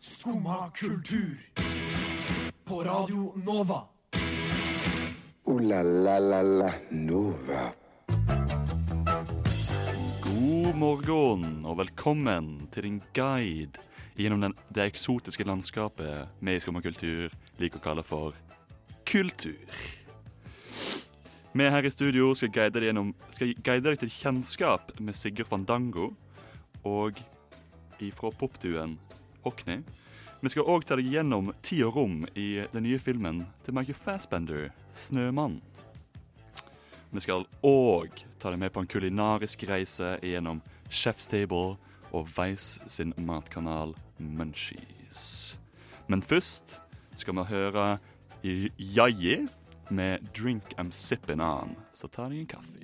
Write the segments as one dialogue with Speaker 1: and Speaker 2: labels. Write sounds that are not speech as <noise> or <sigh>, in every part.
Speaker 1: Skumma kultur. På Radio Nova.
Speaker 2: Ooh la la la la Nova.
Speaker 3: God morgen og velkommen til din guide gjennom den, det eksotiske landskapet vi i Skum og kultur liker å kalle for kultur. Vi her i studio skal guide deg, gjennom, skal guide deg til kjennskap med Sigurd Fandango og ifra popduen Hockney. Vi skal òg ta deg gjennom tid og rom i den nye filmen til Michael Fassbender, 'Snømann'. Vi skal òg ta deg med på en kulinarisk reise gjennom Chef's Table og Weiss sin matkanal Munchies. Men først skal vi høre i- Jaji med 'Drink I'm Sippin' On'. Så ta deg en kaffe.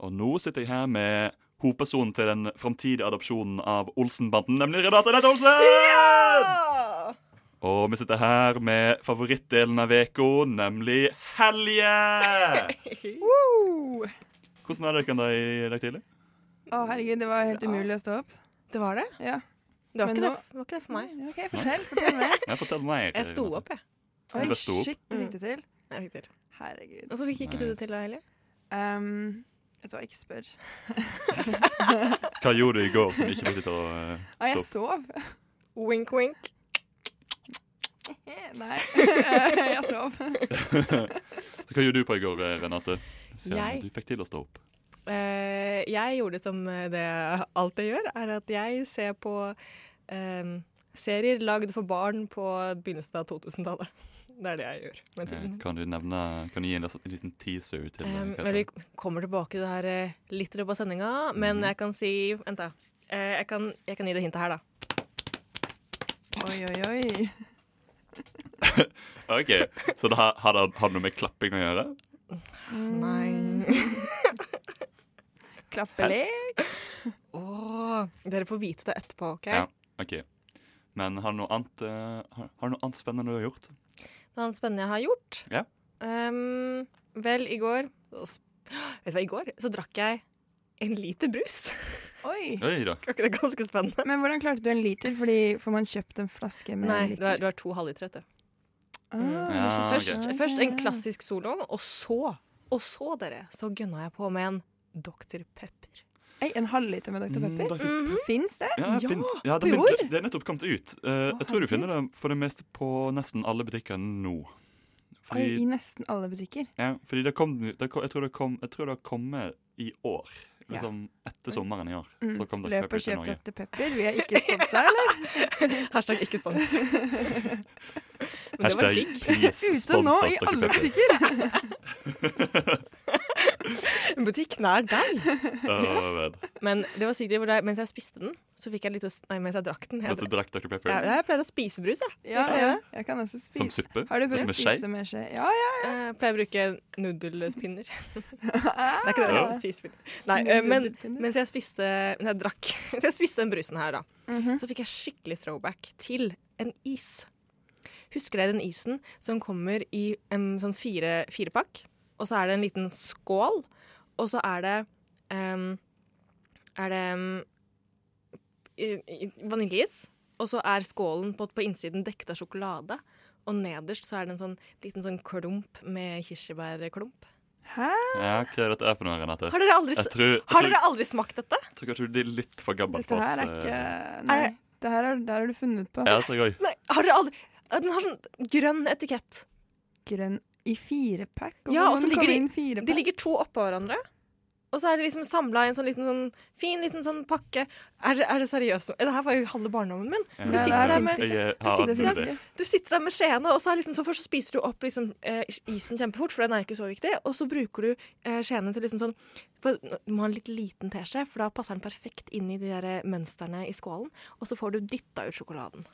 Speaker 3: Og nå sitter jeg her med hovedpersonen til den framtidige adopsjonen av Olsenbanden, nemlig Renate Nette Olsen! Og vi sitter her med favorittdelen av uka, nemlig helge! Hvordan er det dere i dag tidlig?
Speaker 4: Å, herregud, det var helt umulig å stå opp.
Speaker 5: Det var det.
Speaker 4: Ja.
Speaker 5: Det var,
Speaker 4: Men
Speaker 5: ikke
Speaker 4: nå-
Speaker 5: det, det var ikke det for meg.
Speaker 4: Ja, OK, fortell. fortell mer. <laughs>
Speaker 3: Jeg fortell mer.
Speaker 5: Jeg sto
Speaker 3: Renate.
Speaker 5: opp, jeg.
Speaker 4: Oi,
Speaker 3: bare sto opp.
Speaker 4: shit, du fikk det til.
Speaker 5: jeg fikk til.
Speaker 4: Herregud.
Speaker 5: Hvorfor fikk ikke du det
Speaker 3: Nice.
Speaker 5: til, da, Helge?
Speaker 4: Um, vet du hva, ikke spør.
Speaker 3: Hva gjorde du i går som ikke fikk deg til å eh,
Speaker 4: Nei, jeg
Speaker 3: stå opp?
Speaker 4: sov. <laughs>
Speaker 5: Wink, wink.
Speaker 4: <laughs> Nei, jeg sov.
Speaker 3: Så hva gjorde du på i går, eh, Renate? Siden
Speaker 5: Jeg-
Speaker 3: Du fikk til å stå opp.
Speaker 5: Eh, jeg gjorde som det alt jeg gjør, er at jeg ser på eh, serier lagd for barn på begynnelsen av 2000-tallet. Det er det jeg gjør med
Speaker 3: Eh,
Speaker 5: tiden.
Speaker 3: Kan du nevne, kan du gi en lis- en liten teaser til eh,
Speaker 5: Um,
Speaker 3: hva
Speaker 5: men vi
Speaker 3: heter det?
Speaker 5: kommer tilbake til det her eh, litt i løpet av sendinga, men jeg kan si Vent, da. Eh, jeg, kan, jeg kan gi det hintet her, da.
Speaker 4: Oi, oi, oi.
Speaker 3: OK, så det har, har, det, har det noe med klapping å gjøre?
Speaker 4: Mm,
Speaker 5: Nei.
Speaker 4: Klappelek.
Speaker 5: Åh, dere får vite det etterpå, OK?
Speaker 3: Ja, ok. Men har du noe annet, eh, har, har du noe annet spennende du har gjort?
Speaker 5: Det er noe Sånn spennende jeg har gjort.
Speaker 3: Ja.
Speaker 5: Ehm, vel, i går så sp- Vet du hva, i går så drakk jeg en liter brus. <laughs>
Speaker 4: Oi.
Speaker 3: Oi da.
Speaker 5: Var ikke det ganske spennende?
Speaker 4: <laughs> Men hvordan klarte du en liter? Fordi Får man kjøpt en flaske med en
Speaker 5: Nei, det
Speaker 4: liter?
Speaker 5: var, det var to halvlitere, vet du.
Speaker 4: Ah,
Speaker 3: Ja,
Speaker 4: det er så
Speaker 5: Først,
Speaker 3: ok.
Speaker 4: fint.
Speaker 5: først en
Speaker 4: Ja.
Speaker 5: klassisk solo, og så, og så, dere, så gønna jeg på med en Dr. Pepper.
Speaker 4: Ei, en halvliter med Dr. Pepper?
Speaker 3: Mm, da-
Speaker 4: Fins det?
Speaker 3: Ja,
Speaker 5: Ja,
Speaker 3: finnes, ja det,
Speaker 4: på
Speaker 3: finnes,
Speaker 4: jord?
Speaker 3: det er nettopp kommet ut. Eh, jeg tror du finner det for det meste på nesten alle butikker nå.
Speaker 4: Oi, I
Speaker 3: Fordi,
Speaker 4: nesten alle butikker.
Speaker 3: ja, fordi det kom, det kom, jeg, tror det kom, jeg tror det har kommet i år.
Speaker 4: Ja.
Speaker 3: Liksom etter sommeren i år.
Speaker 4: Mm.
Speaker 3: Så kom det
Speaker 4: Løp
Speaker 3: Pepper
Speaker 4: og
Speaker 3: til
Speaker 4: kjøp
Speaker 3: Norge.
Speaker 4: Dr. Pepper. Vi er ikke sponsa, eller?
Speaker 5: <laughs> Hashtag ikke spons. Men det var
Speaker 3: Hashtag
Speaker 5: digg.
Speaker 3: <laughs> please
Speaker 4: Ute nå,
Speaker 3: sponsor
Speaker 4: i
Speaker 3: Dr.
Speaker 4: alle
Speaker 3: Pepper.
Speaker 4: butikker.
Speaker 5: En butikk nær deg.
Speaker 3: Ja, jeg vet.
Speaker 5: Men det var sykt, det var der- mens jeg spiste den, så fikk jeg litt å s- Nei, mens jeg drakk den. Jeg,
Speaker 3: Mens du
Speaker 5: drakk-
Speaker 3: drakk Dr. Pepper
Speaker 5: jeg, jeg pleier å spise brus, jeg.
Speaker 4: <laughs> Ja,
Speaker 5: Kan jeg
Speaker 4: ja.
Speaker 5: det?
Speaker 4: Jeg kan også spise.
Speaker 3: som suppe?
Speaker 4: Har du
Speaker 3: som
Speaker 4: prøvd
Speaker 3: en
Speaker 4: å spise
Speaker 3: skje?
Speaker 4: det med skje? Ja, ja.
Speaker 5: Jeg Eh, pleier å bruke nudelpinner. det er ikke det, det
Speaker 3: Ja.
Speaker 5: er spisepinner. Nei, eh, men mens jeg spiste Mens jeg drakk <laughs> mens jeg spiste den brusen her, da, så fikk jeg skikkelig throwback til en is. Husker dere den isen som kommer i en sånn fire, firepakk, og så er det en liten skål, og så er det em, Er det em, i- i- vaniljeis, og så er skålen på, på innsiden dekket av sjokolade. Og nederst så er det en sånn liten sånn klump med kirsebærklump.
Speaker 4: Hæ?
Speaker 3: Ja, hva er dette her for noe, Renate?
Speaker 5: Har dere aldri,
Speaker 3: Jeg
Speaker 5: s-
Speaker 3: tror, jeg
Speaker 5: har
Speaker 3: tror,
Speaker 5: dere aldri smakt dette?
Speaker 3: jeg tror kanskje du blir litt for gammel
Speaker 4: Dette
Speaker 3: for oss.
Speaker 4: her er ikke
Speaker 3: eh,
Speaker 4: Nei.
Speaker 5: Er-
Speaker 4: Det her er, der har du funnet på.
Speaker 3: Ja, det tror jeg også.
Speaker 5: Nei, har dere aldri Den har sånn grønn etikett.
Speaker 4: Grønn i firepack?
Speaker 5: Ja, og så ligger de-
Speaker 4: de,
Speaker 5: De ligger to oppå hverandre. Og så er de liksom samla i en sånn liten sånn fin liten sånn pakke. Er, det- er det seriøst? Det her var jo halve barndommen min.
Speaker 3: Ja,
Speaker 4: det
Speaker 5: For du
Speaker 3: jeg-
Speaker 5: sitter
Speaker 4: er
Speaker 5: der med
Speaker 3: jeg, jeg,
Speaker 4: Ja,
Speaker 3: har
Speaker 5: sitter
Speaker 3: null idé.
Speaker 4: det.
Speaker 5: du sitter der med skjeene, og så, er liksom, så først så spiser du opp liksom, eh, isen kjempefort, for den er ikke så viktig. Og så bruker du eh, skjeene til liksom sånn for, Du må ha en litt liten teskje, for da passer den perfekt inn i de der eh, mønstrene i skålen. Og så får du dytta ut sjokoladen.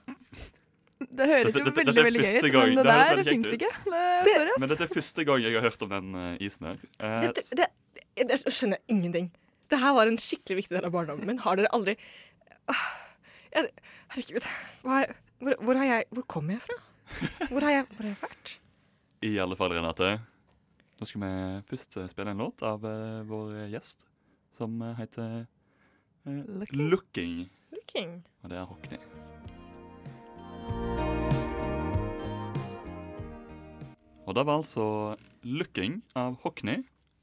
Speaker 4: Det høres
Speaker 3: Dette-
Speaker 4: jo
Speaker 3: dette-
Speaker 4: veldig
Speaker 3: dette er
Speaker 4: veldig gøy ut,
Speaker 3: første gang.
Speaker 4: men det,
Speaker 3: Det høres
Speaker 4: der
Speaker 3: veldig
Speaker 4: fins
Speaker 3: kjekt
Speaker 4: ikke. Det, sorry, ass.
Speaker 3: Men dette er første gang jeg har hørt om den eh, isen her. Eh,
Speaker 5: Det, det, det, det skjønner jeg ingenting. Det her var en skikkelig viktig del av barndommen min. Har dere aldri Ah, Åh, jeg, Herregud, hva, er- hvor, hvor, har jeg, hvor kom jeg fra? Hvor har jeg, hvor har jeg vært?
Speaker 3: I alle fall, Renate. Nå skal vi først eh, spille en låt av eh, vår gjest, som eh, heter eh,
Speaker 4: Looking.
Speaker 3: Looking.
Speaker 5: Looking.
Speaker 3: Og det er Hockney. Og det var altså Looking av Hockney.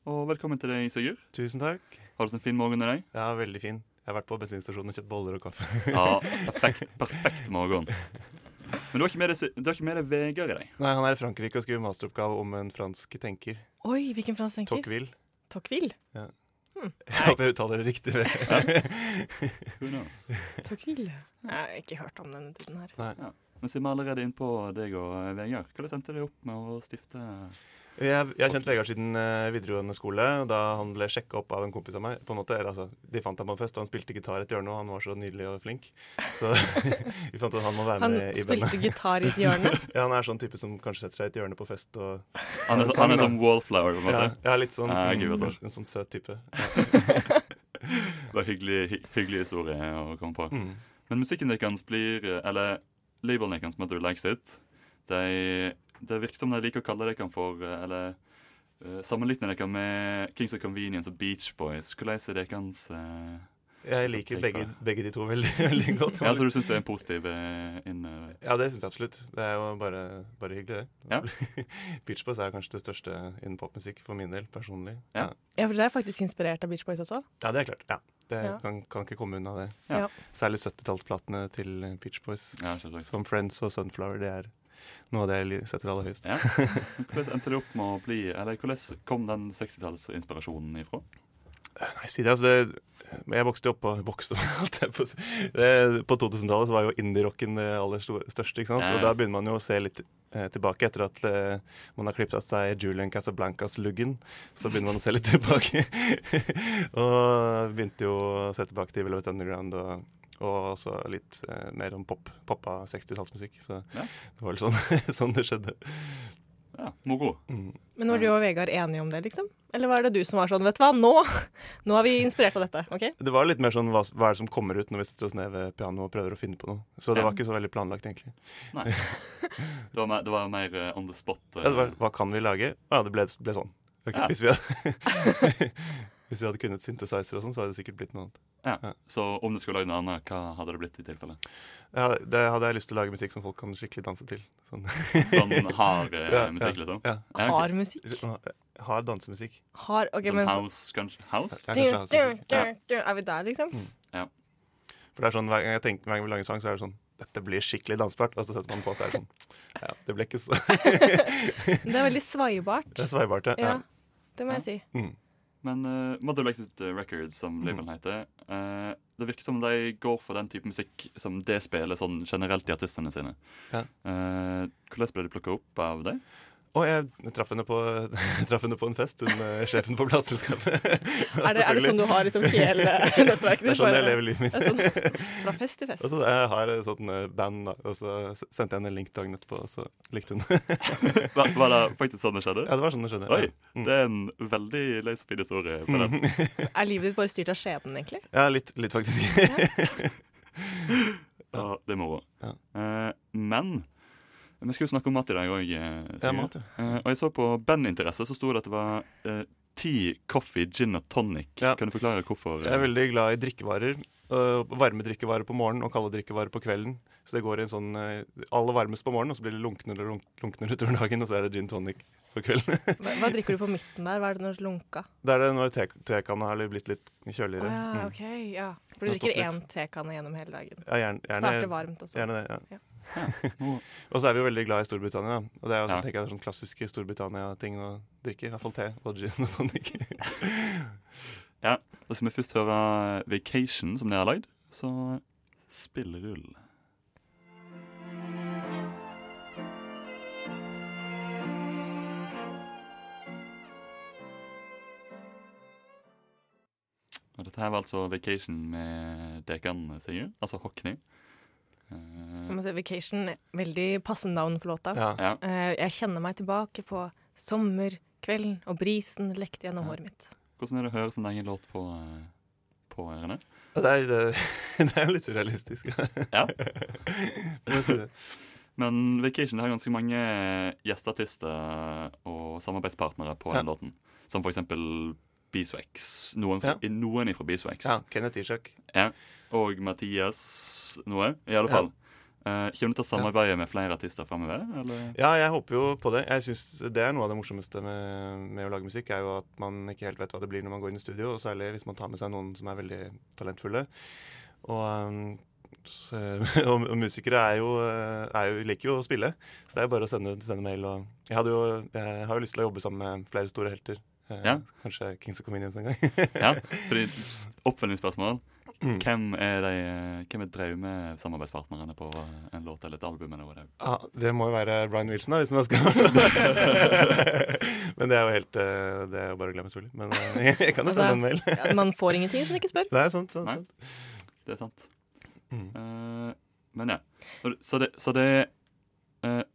Speaker 3: Og velkommen til deg, Sigurd.
Speaker 6: Tusen takk.
Speaker 3: Har du hatt en fin morgen i dag?
Speaker 6: <laughs> Ja, veldig fin. Jeg har vært på bensinstasjonen og kjøpt boller og kaffe.
Speaker 3: Ja, perfekt, perfekt morgen. Men du har ikke med deg, Si- du har ikke med deg Vegard i dag.
Speaker 6: <laughs> Nei, han er i Frankrike og skriver masteroppgave om en fransk tenker.
Speaker 5: Oi, hvilken fransk tenker?
Speaker 6: Tocqueville.
Speaker 5: Tocqueville.
Speaker 6: <laughs> Jeg håper jeg uttaler det riktig. <laughs>
Speaker 3: Who knows?
Speaker 5: Tocqueville. Jeg har ikke hørt om denne duden her.
Speaker 3: Men siden vi er allerede inn på deg og eh, Vegard, hvordan endte det opp med å stifte
Speaker 6: Jeg, jeg har kjent Vegard siden eh, videregående skole. og Da han ble sjekka opp av en kompis av meg. på en måte, eller altså, De fant ham på en fest, og han spilte gitar et hjørne, og han var så nydelig og flink. Så <laughs> vi fant ut at han må være
Speaker 5: Han
Speaker 6: med i bandet.
Speaker 5: spilte gitar i et hjørne.
Speaker 6: <laughs> Ja, han er sånn type som kanskje setter seg i et hjørne på fest og
Speaker 3: Han er, så- han er sånn wallflower, på en
Speaker 6: Ja,
Speaker 3: måte.
Speaker 6: ja litt sånn,
Speaker 3: Ja, gud, hva
Speaker 6: mm,
Speaker 3: så.
Speaker 6: en sånn søt type.
Speaker 3: Det var en hyggelig, hy- hyggelig historie å komme på.
Speaker 6: Mm.
Speaker 3: Men musikken deres blir eh, Eller labelen deres som heter Relax It de, Det virker som de liker å kalle dere for eh, Eller uh, sammenligne dere med Kings of Convenience og Beach Boys. Hvordan er det deres eh,
Speaker 6: Jeg
Speaker 3: Tenk
Speaker 6: liker
Speaker 3: på
Speaker 6: begge,
Speaker 3: det.
Speaker 6: begge de to veldig, <laughs> veldig godt.
Speaker 3: Ja, så du syns det er en positiv eh, inn... eh,
Speaker 6: Ja, det syns jeg absolutt. Det er jo bare, bare hyggelig, det.
Speaker 3: Ja.
Speaker 6: <laughs> Beach Boys er kanskje det største innen popmusikk for min del, personlig.
Speaker 3: Ja.
Speaker 5: Ja, for dere er faktisk inspirert av Beach Boys også.
Speaker 6: Ja, det er klart. Ja. Det
Speaker 5: Ja.
Speaker 6: Kan, kan ikke komme unna det.
Speaker 3: Ja.
Speaker 5: Ja.
Speaker 6: Særlig 70-tallsplatene til Beach Boys.
Speaker 3: ja, selvsagt.
Speaker 6: Som Friends og Sunflower, det er noe av det jeg li- setter aller høyest.
Speaker 3: Ja. Hvordan endte det opp med å bli Eller hvordan kom den 60-tallsinspirasjonen ifra?
Speaker 6: Nei, si det, altså det, Jeg vokste jo opp på Vokste opp, <laughs> holdt jeg på, å si. det, på 2000-tallet så var jo indie-rocken det aller stor- største. ikke sant?
Speaker 3: Ja, ja.
Speaker 6: Og da begynner man jo å se litt eh, tilbake etter at eh, man har klippet av seg Julian Casablancas luggen. Så begynner man å se litt <laughs> tilbake. og begynte jo å se tilbake til Velvet Underground og, og også litt eh, mer om pop, poppa 60-tallsmusikk. Så
Speaker 3: Ja.
Speaker 6: det var vel sånn, <laughs> sånn det skjedde.
Speaker 3: Ja, moro.
Speaker 6: Mm.
Speaker 5: Men var du og Vegard enige om det, liksom? Eller var det du som var sånn, vet du hva, nå, nå er vi inspirert av dette, OK?
Speaker 6: Det var litt mer sånn hva, hva er det som kommer ut når vi setter oss ned ved pianoet og prøver å finne på noe. Så det
Speaker 3: Ja.
Speaker 6: var ikke så veldig planlagt, egentlig.
Speaker 3: Det var, mer- det var mer eh, on the spot. eh,
Speaker 6: Ja, det var, hva kan vi lage? Å Ja, det ble, ble sånn. Ok,
Speaker 3: Ja.
Speaker 6: hvis, vi hadde, <laughs> hvis vi hadde kunnet synthesizer og sånn, så hadde det sikkert blitt noe annet.
Speaker 3: Så om du skulle lagd noe annet, hva hadde det blitt i tilfelle?
Speaker 6: Ja, det hadde jeg lyst til å lage musikk som folk kan skikkelig danse til. Sånn. <laughs>
Speaker 3: Sånn hard eh,
Speaker 6: Ja, ja.
Speaker 3: musikk, liksom?
Speaker 6: Ja. eh,
Speaker 3: Ja, ok.
Speaker 5: Hard musikk.
Speaker 6: Hard dansemusikk.
Speaker 5: Hard OK,
Speaker 3: Sånn
Speaker 5: men
Speaker 3: house, kanskje? House?
Speaker 6: Ja, kanskje housemusikk.
Speaker 5: Er vi der, liksom?
Speaker 6: For det er sånn, hver gang jeg tenker, hver gang vi lager en sang, så er det sånn Dette blir skikkelig dansbart. Og så setter man på seg sånn Ja, det ble ikke så <laughs>
Speaker 5: Det er veldig svaibart.
Speaker 6: Det er sveibart, ja.
Speaker 5: Ja,
Speaker 6: ja.
Speaker 5: det må jeg si.
Speaker 6: Mm.
Speaker 3: Men uh, Mother Likes It Records, som labelen heter, eh, det virker som de går for den type musikk som det spiller sånn generelt i artistene sine.
Speaker 6: Ja.
Speaker 3: Eh, hvordan ble de plukka opp av deg?
Speaker 6: Og jeg traff henne, på, <laughs> traff henne på en fest, hun eh, sjefen på plateselskapet. <laughs>
Speaker 5: Er det, er det sånn du har liksom hele nettverket
Speaker 6: Det er sånn jeg lever livet
Speaker 5: <laughs>
Speaker 6: mitt.
Speaker 5: Det er sånn, fra fest til
Speaker 6: Og
Speaker 5: fest.
Speaker 6: så jeg har et sånt eh, band, da, og så s- sendte jeg henne en link dagen etterpå, og så likte hun det.
Speaker 3: Var, var det faktisk sånn det skjedde?
Speaker 6: ja, det var sånn det skjedde.
Speaker 3: Oi,
Speaker 6: Ja. Mm.
Speaker 3: det er en veldig løs og fin historie.
Speaker 6: <laughs>
Speaker 3: på den.
Speaker 6: sånn.
Speaker 5: Er livet ditt bare styrt av skjebnen, egentlig?
Speaker 6: Ja, litt, litt faktisk.
Speaker 3: Ja, det er moro.
Speaker 6: Ja.
Speaker 3: Eh, men vi skal jo snakke om mat i dag òg.
Speaker 6: Ja, mat, ja.
Speaker 3: Eh, og jeg så på bandinteresse, så sto det at det var eh, tea, coffee, gin og tonic.
Speaker 6: Ja.
Speaker 3: Kan du forklare hvorfor?
Speaker 6: <laughs> Jeg er veldig glad i drikkevarer. øh, Varme drikkevarer på morgenen og kalde drikkevarer på kvelden. Så det går i en sånn eh, Alle varmes på morgenen, og så blir det lunknere og lunk- lunknere <laughs> utover dagen, og så er det gin tonic på kvelden. <laughs>
Speaker 5: Hva, hva drikker du på midten der? Hva er det når du lunka?
Speaker 6: Da er det når te- tekanna har blitt litt
Speaker 5: Å
Speaker 6: kjøligere.
Speaker 5: ja,
Speaker 6: Mm.
Speaker 5: OK. Ja. For du
Speaker 6: Den har
Speaker 5: drikker
Speaker 6: stått
Speaker 5: én tekanne gjennom hele dagen.
Speaker 6: Ja, gjerne,
Speaker 5: Starter
Speaker 6: gjerne,
Speaker 5: varmt også.
Speaker 6: gjerne det. ja.
Speaker 3: moro.
Speaker 6: <laughs> Og så er vi jo veldig glad i Storbritannia. da. Og det er jo
Speaker 3: Ja.
Speaker 6: sånn, tenker jeg, det er sånn klassiske Storbritannia-ting å drikke. I hvert fall te og gin og tonic.
Speaker 3: Da skal vi først høre eh, Vacation, som dere har lagd. Så spillerull. Og dette her var altså Vacation med Dekan Sigurd, altså Hockney.
Speaker 5: Jeg
Speaker 3: Eh,
Speaker 5: må si, vacation, veldig passende navn for låta.
Speaker 6: <laughs> Ja.
Speaker 3: ja,
Speaker 5: Eh, Jeg kjenner meg tilbake på sommerkvelden, og brisen lekte gjennom
Speaker 3: Ja.
Speaker 5: håret mitt.
Speaker 3: hvordan er det å høre sin egen låt på, eh, på ørene?
Speaker 6: <laughs> Ja, Det er, det, det er jo litt surrealistisk.
Speaker 3: Ja.
Speaker 6: <laughs> Men så-
Speaker 3: Men Vacation har ganske mange eh, gjesteartister eh, og samarbeidspartnere på den låten. Som for eksempel Beeswax. Noen, fra, noen ifra Beeswax.
Speaker 6: Ja, Kenneth Ishak.
Speaker 3: Ja. Og Mathias noe, i alle
Speaker 6: Ja.
Speaker 3: fall. Eh, kommer du til å samarbeide med flere artister framover? eller?
Speaker 6: Ja, jeg håper jo på det. Jeg synes Det er noe av det morsomste med, med å lage musikk, er jo at man ikke helt vet hva det blir når man går inn i studio, og særlig hvis man tar med seg noen som er veldig talentfulle. Og, um, så, <laughs> og, og musikere er jo, eh, er jo, liker jo å spille, så det er jo bare å sende, sende mail. Og jeg, hadde jo, jeg har jo lyst til å jobbe sammen med flere store helter. Eh,
Speaker 3: Ja.
Speaker 6: Kanskje Kings of Convenience en gang.
Speaker 3: Ja, fordi Oppfølgingsspørsmål.
Speaker 6: Mm.
Speaker 3: Hvem er, de, eh, hvem er drømmesamarbeidspartnerne på eh, en låt eller et album? eller hva det er?
Speaker 6: Ja, det må jo være Brian Wilson, da, hvis man skal <laughs> Men det er jo helt eh, Det er jo bare å glemme, selvfølgelig. Men eh, jeg kan jo sende en mail.
Speaker 5: Altså, Ja, Man får ingenting hvis man ikke spør.
Speaker 6: Det er sant. sant,
Speaker 3: Nei.
Speaker 6: sant.
Speaker 3: Det er sant.
Speaker 6: Mm.
Speaker 3: Eh, men ja. Når du- Så det, så det eh,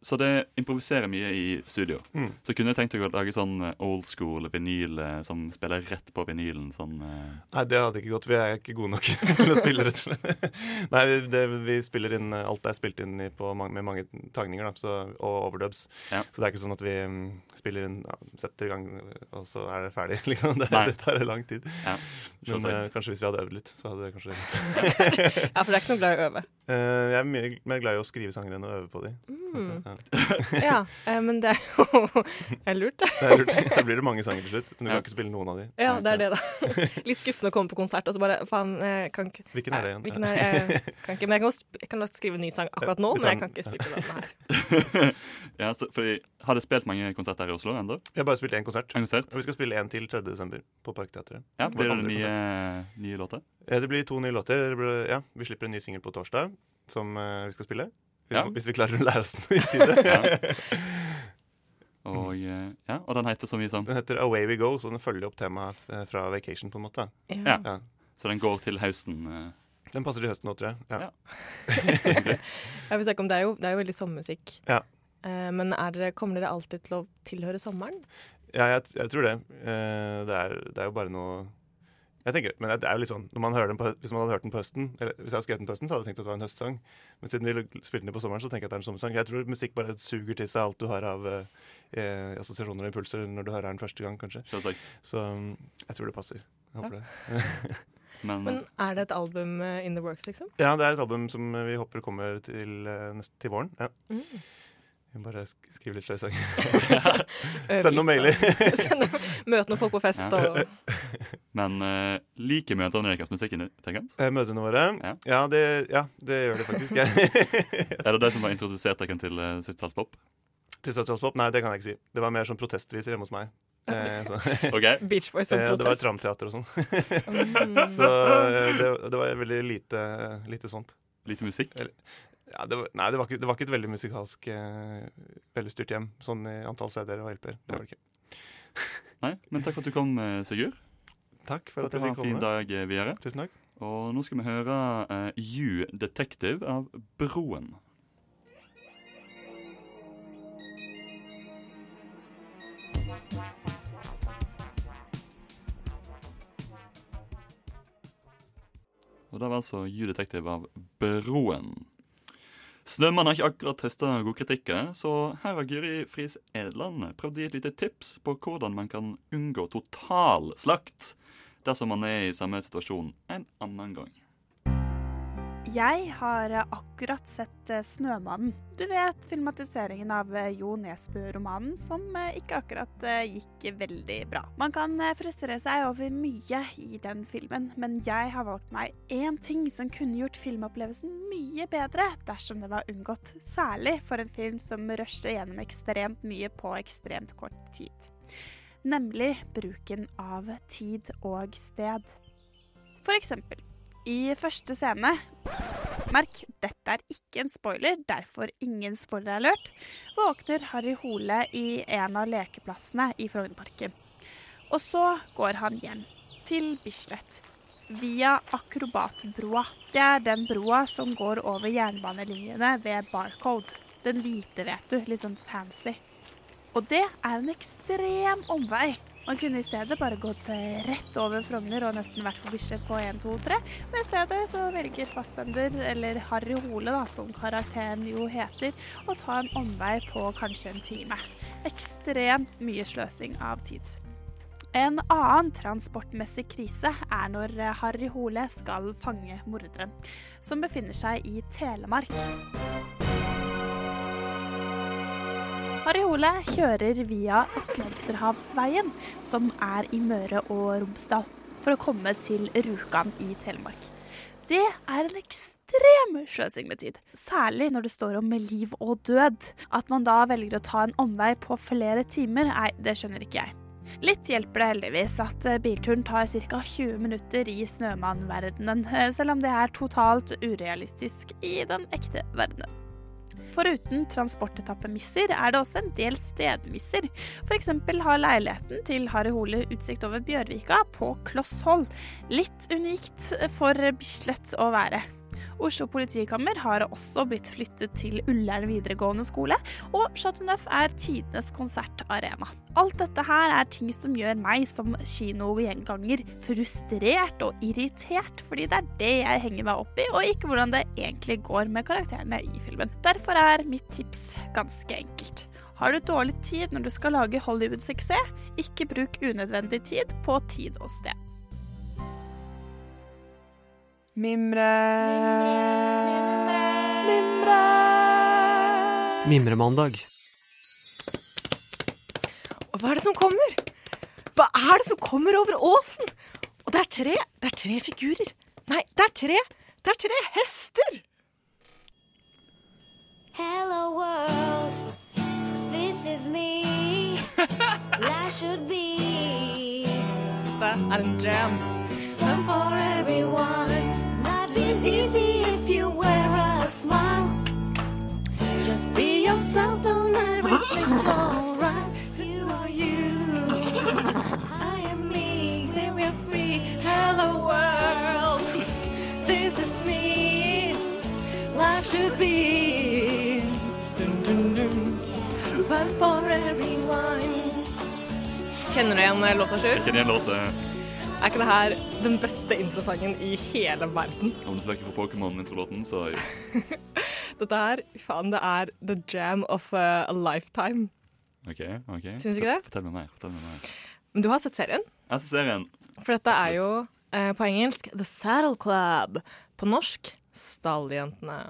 Speaker 3: så det improviserer mye i studio.
Speaker 6: Mm.
Speaker 3: Så kunne jeg tenkt meg å lage sånn eh, old school vinyl eh, som spiller rett på vinylen. Sånn, eh,
Speaker 6: Nei, det hadde ikke gått. Vi er ikke gode nok <laughs> til å spille, rett og slett. Nei, vi, det, vi spiller inn eh, Alt er spilt inn i på mange, med mange tagninger da, så, og overdubs.
Speaker 3: Ja.
Speaker 6: Så det er ikke sånn at vi mm, spiller inn, ja, setter i gang, og så er det ferdig, <laughs> liksom. Det,
Speaker 3: Nei.
Speaker 6: det tar lang tid.
Speaker 3: ja,
Speaker 6: Men eh,
Speaker 3: selvsagt.
Speaker 6: kanskje hvis vi hadde øvd litt, så hadde det kanskje gått.
Speaker 5: Ja, For det er ikke noe glad i å øve.
Speaker 6: <laughs> Eh, jeg er mye mer glad i å skrive sanger enn å øve på de.
Speaker 5: Mm.
Speaker 6: Ja.
Speaker 5: Ja, eh, Men det er jo <laughs> det er lurt, det.
Speaker 6: Det er lurt. Da blir det mange sanger til slutt. Men du
Speaker 3: Ja.
Speaker 6: kan ikke spille noen av de.
Speaker 5: Ja, det er det, da. Litt skuffende å komme på konsert og så bare faen, jeg kan ikke
Speaker 6: Hvilken er det igjen?
Speaker 5: Hvilken er, jeg kan ikke, men jeg kan, også sp- jeg kan godt skrive en ny sang akkurat nå,
Speaker 6: Eh, Vi tar
Speaker 5: men jeg
Speaker 6: den.
Speaker 5: kan ikke spille den her.
Speaker 3: Ja, så, fordi, har dere spilt mange konserter her i Oslo ennå?
Speaker 6: Vi har bare spilt én konsert.
Speaker 3: En konsert?
Speaker 6: Og vi skal spille én til 3. desember på Parkteatret.
Speaker 3: Ja,
Speaker 6: Vår
Speaker 3: blir det
Speaker 6: andre
Speaker 3: nye, nye låter?
Speaker 6: Eh, Det blir to nye låter. Det blir, ja, vi slipper en ny singel på torsdag som eh, vi skal spille. Hvis,
Speaker 3: Ja.
Speaker 6: hvis vi klarer å lære oss den i tide. <laughs>
Speaker 3: Ja. Og, eh, ja, og den heter så mye som
Speaker 6: Den heter Away We Go, så den følger opp temaet eh, fra Vacation. på en måte.
Speaker 3: Ja.
Speaker 6: Ja.
Speaker 3: Så den går til høsten. eh.
Speaker 6: Den passer til høsten nå, tror jeg. Ja.
Speaker 3: Ja.
Speaker 5: Jeg vil snakke om, det, er jo, det er jo veldig sommermusikk.
Speaker 6: Ja.
Speaker 5: Eh, men er dere, kommer dere alltid til å tilhøre sommeren?
Speaker 6: Ja, jeg, jeg tror det. Eh, det, er, det er jo bare noe jeg tenker, men det er jo litt sånn, når man hører den på, hø- Hvis man hadde hørt den på høsten, eller hvis jeg hadde skrevet den på høsten, så hadde jeg tenkt at det var en høstsang. Men siden vi l- spilte den på sommeren, så tenker jeg at det er en sommersang. Jeg tror musikk bare suger til seg alt du har av eh, eh, assosiasjoner og impulser når du hører den første gang, kanskje.
Speaker 3: Selvsagt.
Speaker 6: Så mm, jeg tror det passer. Jeg håper det. <laughs> Mm.
Speaker 3: Men,
Speaker 5: Men er det et album eh, in the works, liksom?
Speaker 6: Ja, det er et album som vi håper kommer til, eh, nest, til våren. Ja.
Speaker 5: Mm.
Speaker 6: Vi må bare sk skrive litt flere sanger.
Speaker 5: Øve
Speaker 6: Send noen
Speaker 5: litt,
Speaker 6: mailer. <laughs>
Speaker 5: da. Eh, <laughs> Send noen- Møte noen folk på fest
Speaker 3: Ja.
Speaker 5: og
Speaker 3: men eh, liker møtene deres musikken? Tenkens?
Speaker 6: Eh, Mødrene våre.
Speaker 3: Ja.
Speaker 6: Ja. det, ja, det gjør det faktisk. Jeg.
Speaker 3: Er det det som har introdusert dere til uh, 70-tallspop?
Speaker 6: Til Statoilspop? Nei, det kan jeg ikke si. Det var mer sånn protestviser hjemme hos
Speaker 3: <laughs>
Speaker 6: meg. Eh, så.
Speaker 3: Ok,
Speaker 5: Beach Boys som
Speaker 6: <laughs> Eh, det var
Speaker 5: protest.
Speaker 6: tramteater og sånn.
Speaker 5: Mm.
Speaker 6: <laughs> Så eh, det, det var veldig lite, lite sånt.
Speaker 3: Lite musikk?
Speaker 6: Ja, det var, nei, det var, ikke, det var ikke et veldig musikalsk, eh, veldig styrt hjem, sånn i antall CD-er og LP-er. Det var det ikke.
Speaker 3: Nei, men takk for at du kom, eh, Sigurd.
Speaker 6: Takk for at
Speaker 3: Håper du
Speaker 6: jeg
Speaker 3: har
Speaker 6: fikk
Speaker 3: en fin
Speaker 6: komme.
Speaker 3: dag eh, videre.
Speaker 6: Tusen takk.
Speaker 3: Og nå skal vi høre eh, You Detective av Broen. Og det var altså You Detective av Broen. Snømann har ikke akkurat høsta god kritikk, så her har Guri Friis Edland prøvd å gi et lite tips på hvordan man kan unngå total slakt dersom man er i samme situasjon en annen gang.
Speaker 7: Jeg har eh, akkurat sett eh, 'Snømannen'. Du vet filmatiseringen av eh, Jo Nesbø-romanen som eh, ikke akkurat eh, gikk veldig bra. Man kan eh, frustrere seg over mye i den filmen, men jeg har valgt meg én ting som kunne gjort filmopplevelsen mye bedre dersom det var unngått. Særlig for en film som rusher gjennom ekstremt mye på ekstremt kort tid. Nemlig bruken av tid og sted. For eksempel, i første scene Merk, dette er ikke en spoiler, derfor ingen spoiler-alert. Våkner Harry Hole i en av lekeplassene i Frognerparken. Og så går han hjem til Bislett via Akrobatbroa. Det er den broa som går over jernbanelinjene ved Barcode. Den hvite, vet du. Litt sånn fancy. Og det er en ekstrem omvei. Man kunne i stedet bare gått eh, rett over Frogner og nesten vært på Bislett på 1, 2, 3. Men i stedet så velger Fassbender, eller Harry Hole da, som karakteren jo heter, å ta en omvei på kanskje en time. Ekstremt mye sløsing av tid. En annen transportmessig krise er når eh, Harry Hole skal fange morderen, som befinner seg i Telemark. Harry Hole kjører via Atlanterhavsveien, som er i Møre og Romsdal, for å komme til Rjukan i Telemark. Det er en ekstrem sløsing med tid, særlig når det står om liv og død. At man da velger å ta en omvei på flere timer, nei, det skjønner ikke jeg. Litt hjelper det heldigvis at eh, bilturen tar ca. 20 minutter i snømannverdenen, eh, selv om det er totalt urealistisk i den ekte verdenen. Foruten transportetappemisser er det også en del stedmisser. F.eks. har leiligheten til Harry Hole utsikt over Bjørvika på kloss hold. Litt unikt for Bislett å være. Oslo politikammer har også blitt flyttet til Ullern videregående skole, og Chateau Neuf er tidenes konsertarena. Alt dette her er ting som gjør meg som kinogjenganger frustrert og irritert, fordi det er det jeg henger meg opp i, og ikke hvordan det egentlig går med karakterene i filmen. Derfor er mitt tips ganske enkelt. Har du dårlig tid når du skal lage Hollywood-suksess, ikke bruk unødvendig tid på tid og sted.
Speaker 4: Mimre. Mimre.
Speaker 8: Mimremandag.
Speaker 5: Og hva er det som kommer? Hva er det som kommer over åsen? Og det er tre. Det er tre figurer. Nei, det er tre. Det er tre hester.
Speaker 9: Hello world, this is me. Life should be
Speaker 5: Det er en jam.
Speaker 9: fun for everyone. Life is easy if you wear a smile. Just be yourself, don't let everything's alright. You are you. I am me, then we're free. Hello world, this is me. Life should be Dun, dun, dun. fun for everyone.
Speaker 5: Kjenner du igjen eh, låta, Sjur?
Speaker 3: Kjenner igjen låta.
Speaker 5: Er ikke det her den beste introsangen i hele verden?
Speaker 3: Om det så ikke for Pokémon-introlåten, så
Speaker 5: Dette her, faen, det er the jam of uh, a lifetime.
Speaker 3: OK. ok.
Speaker 5: Syns du ikke det?
Speaker 3: Fortell meg mer. fortell meg mer.
Speaker 5: Men du har sett serien?
Speaker 3: Jeg ser serien.
Speaker 5: For dette er jo eh, på engelsk The Saddle Club. På norsk Stalljentene.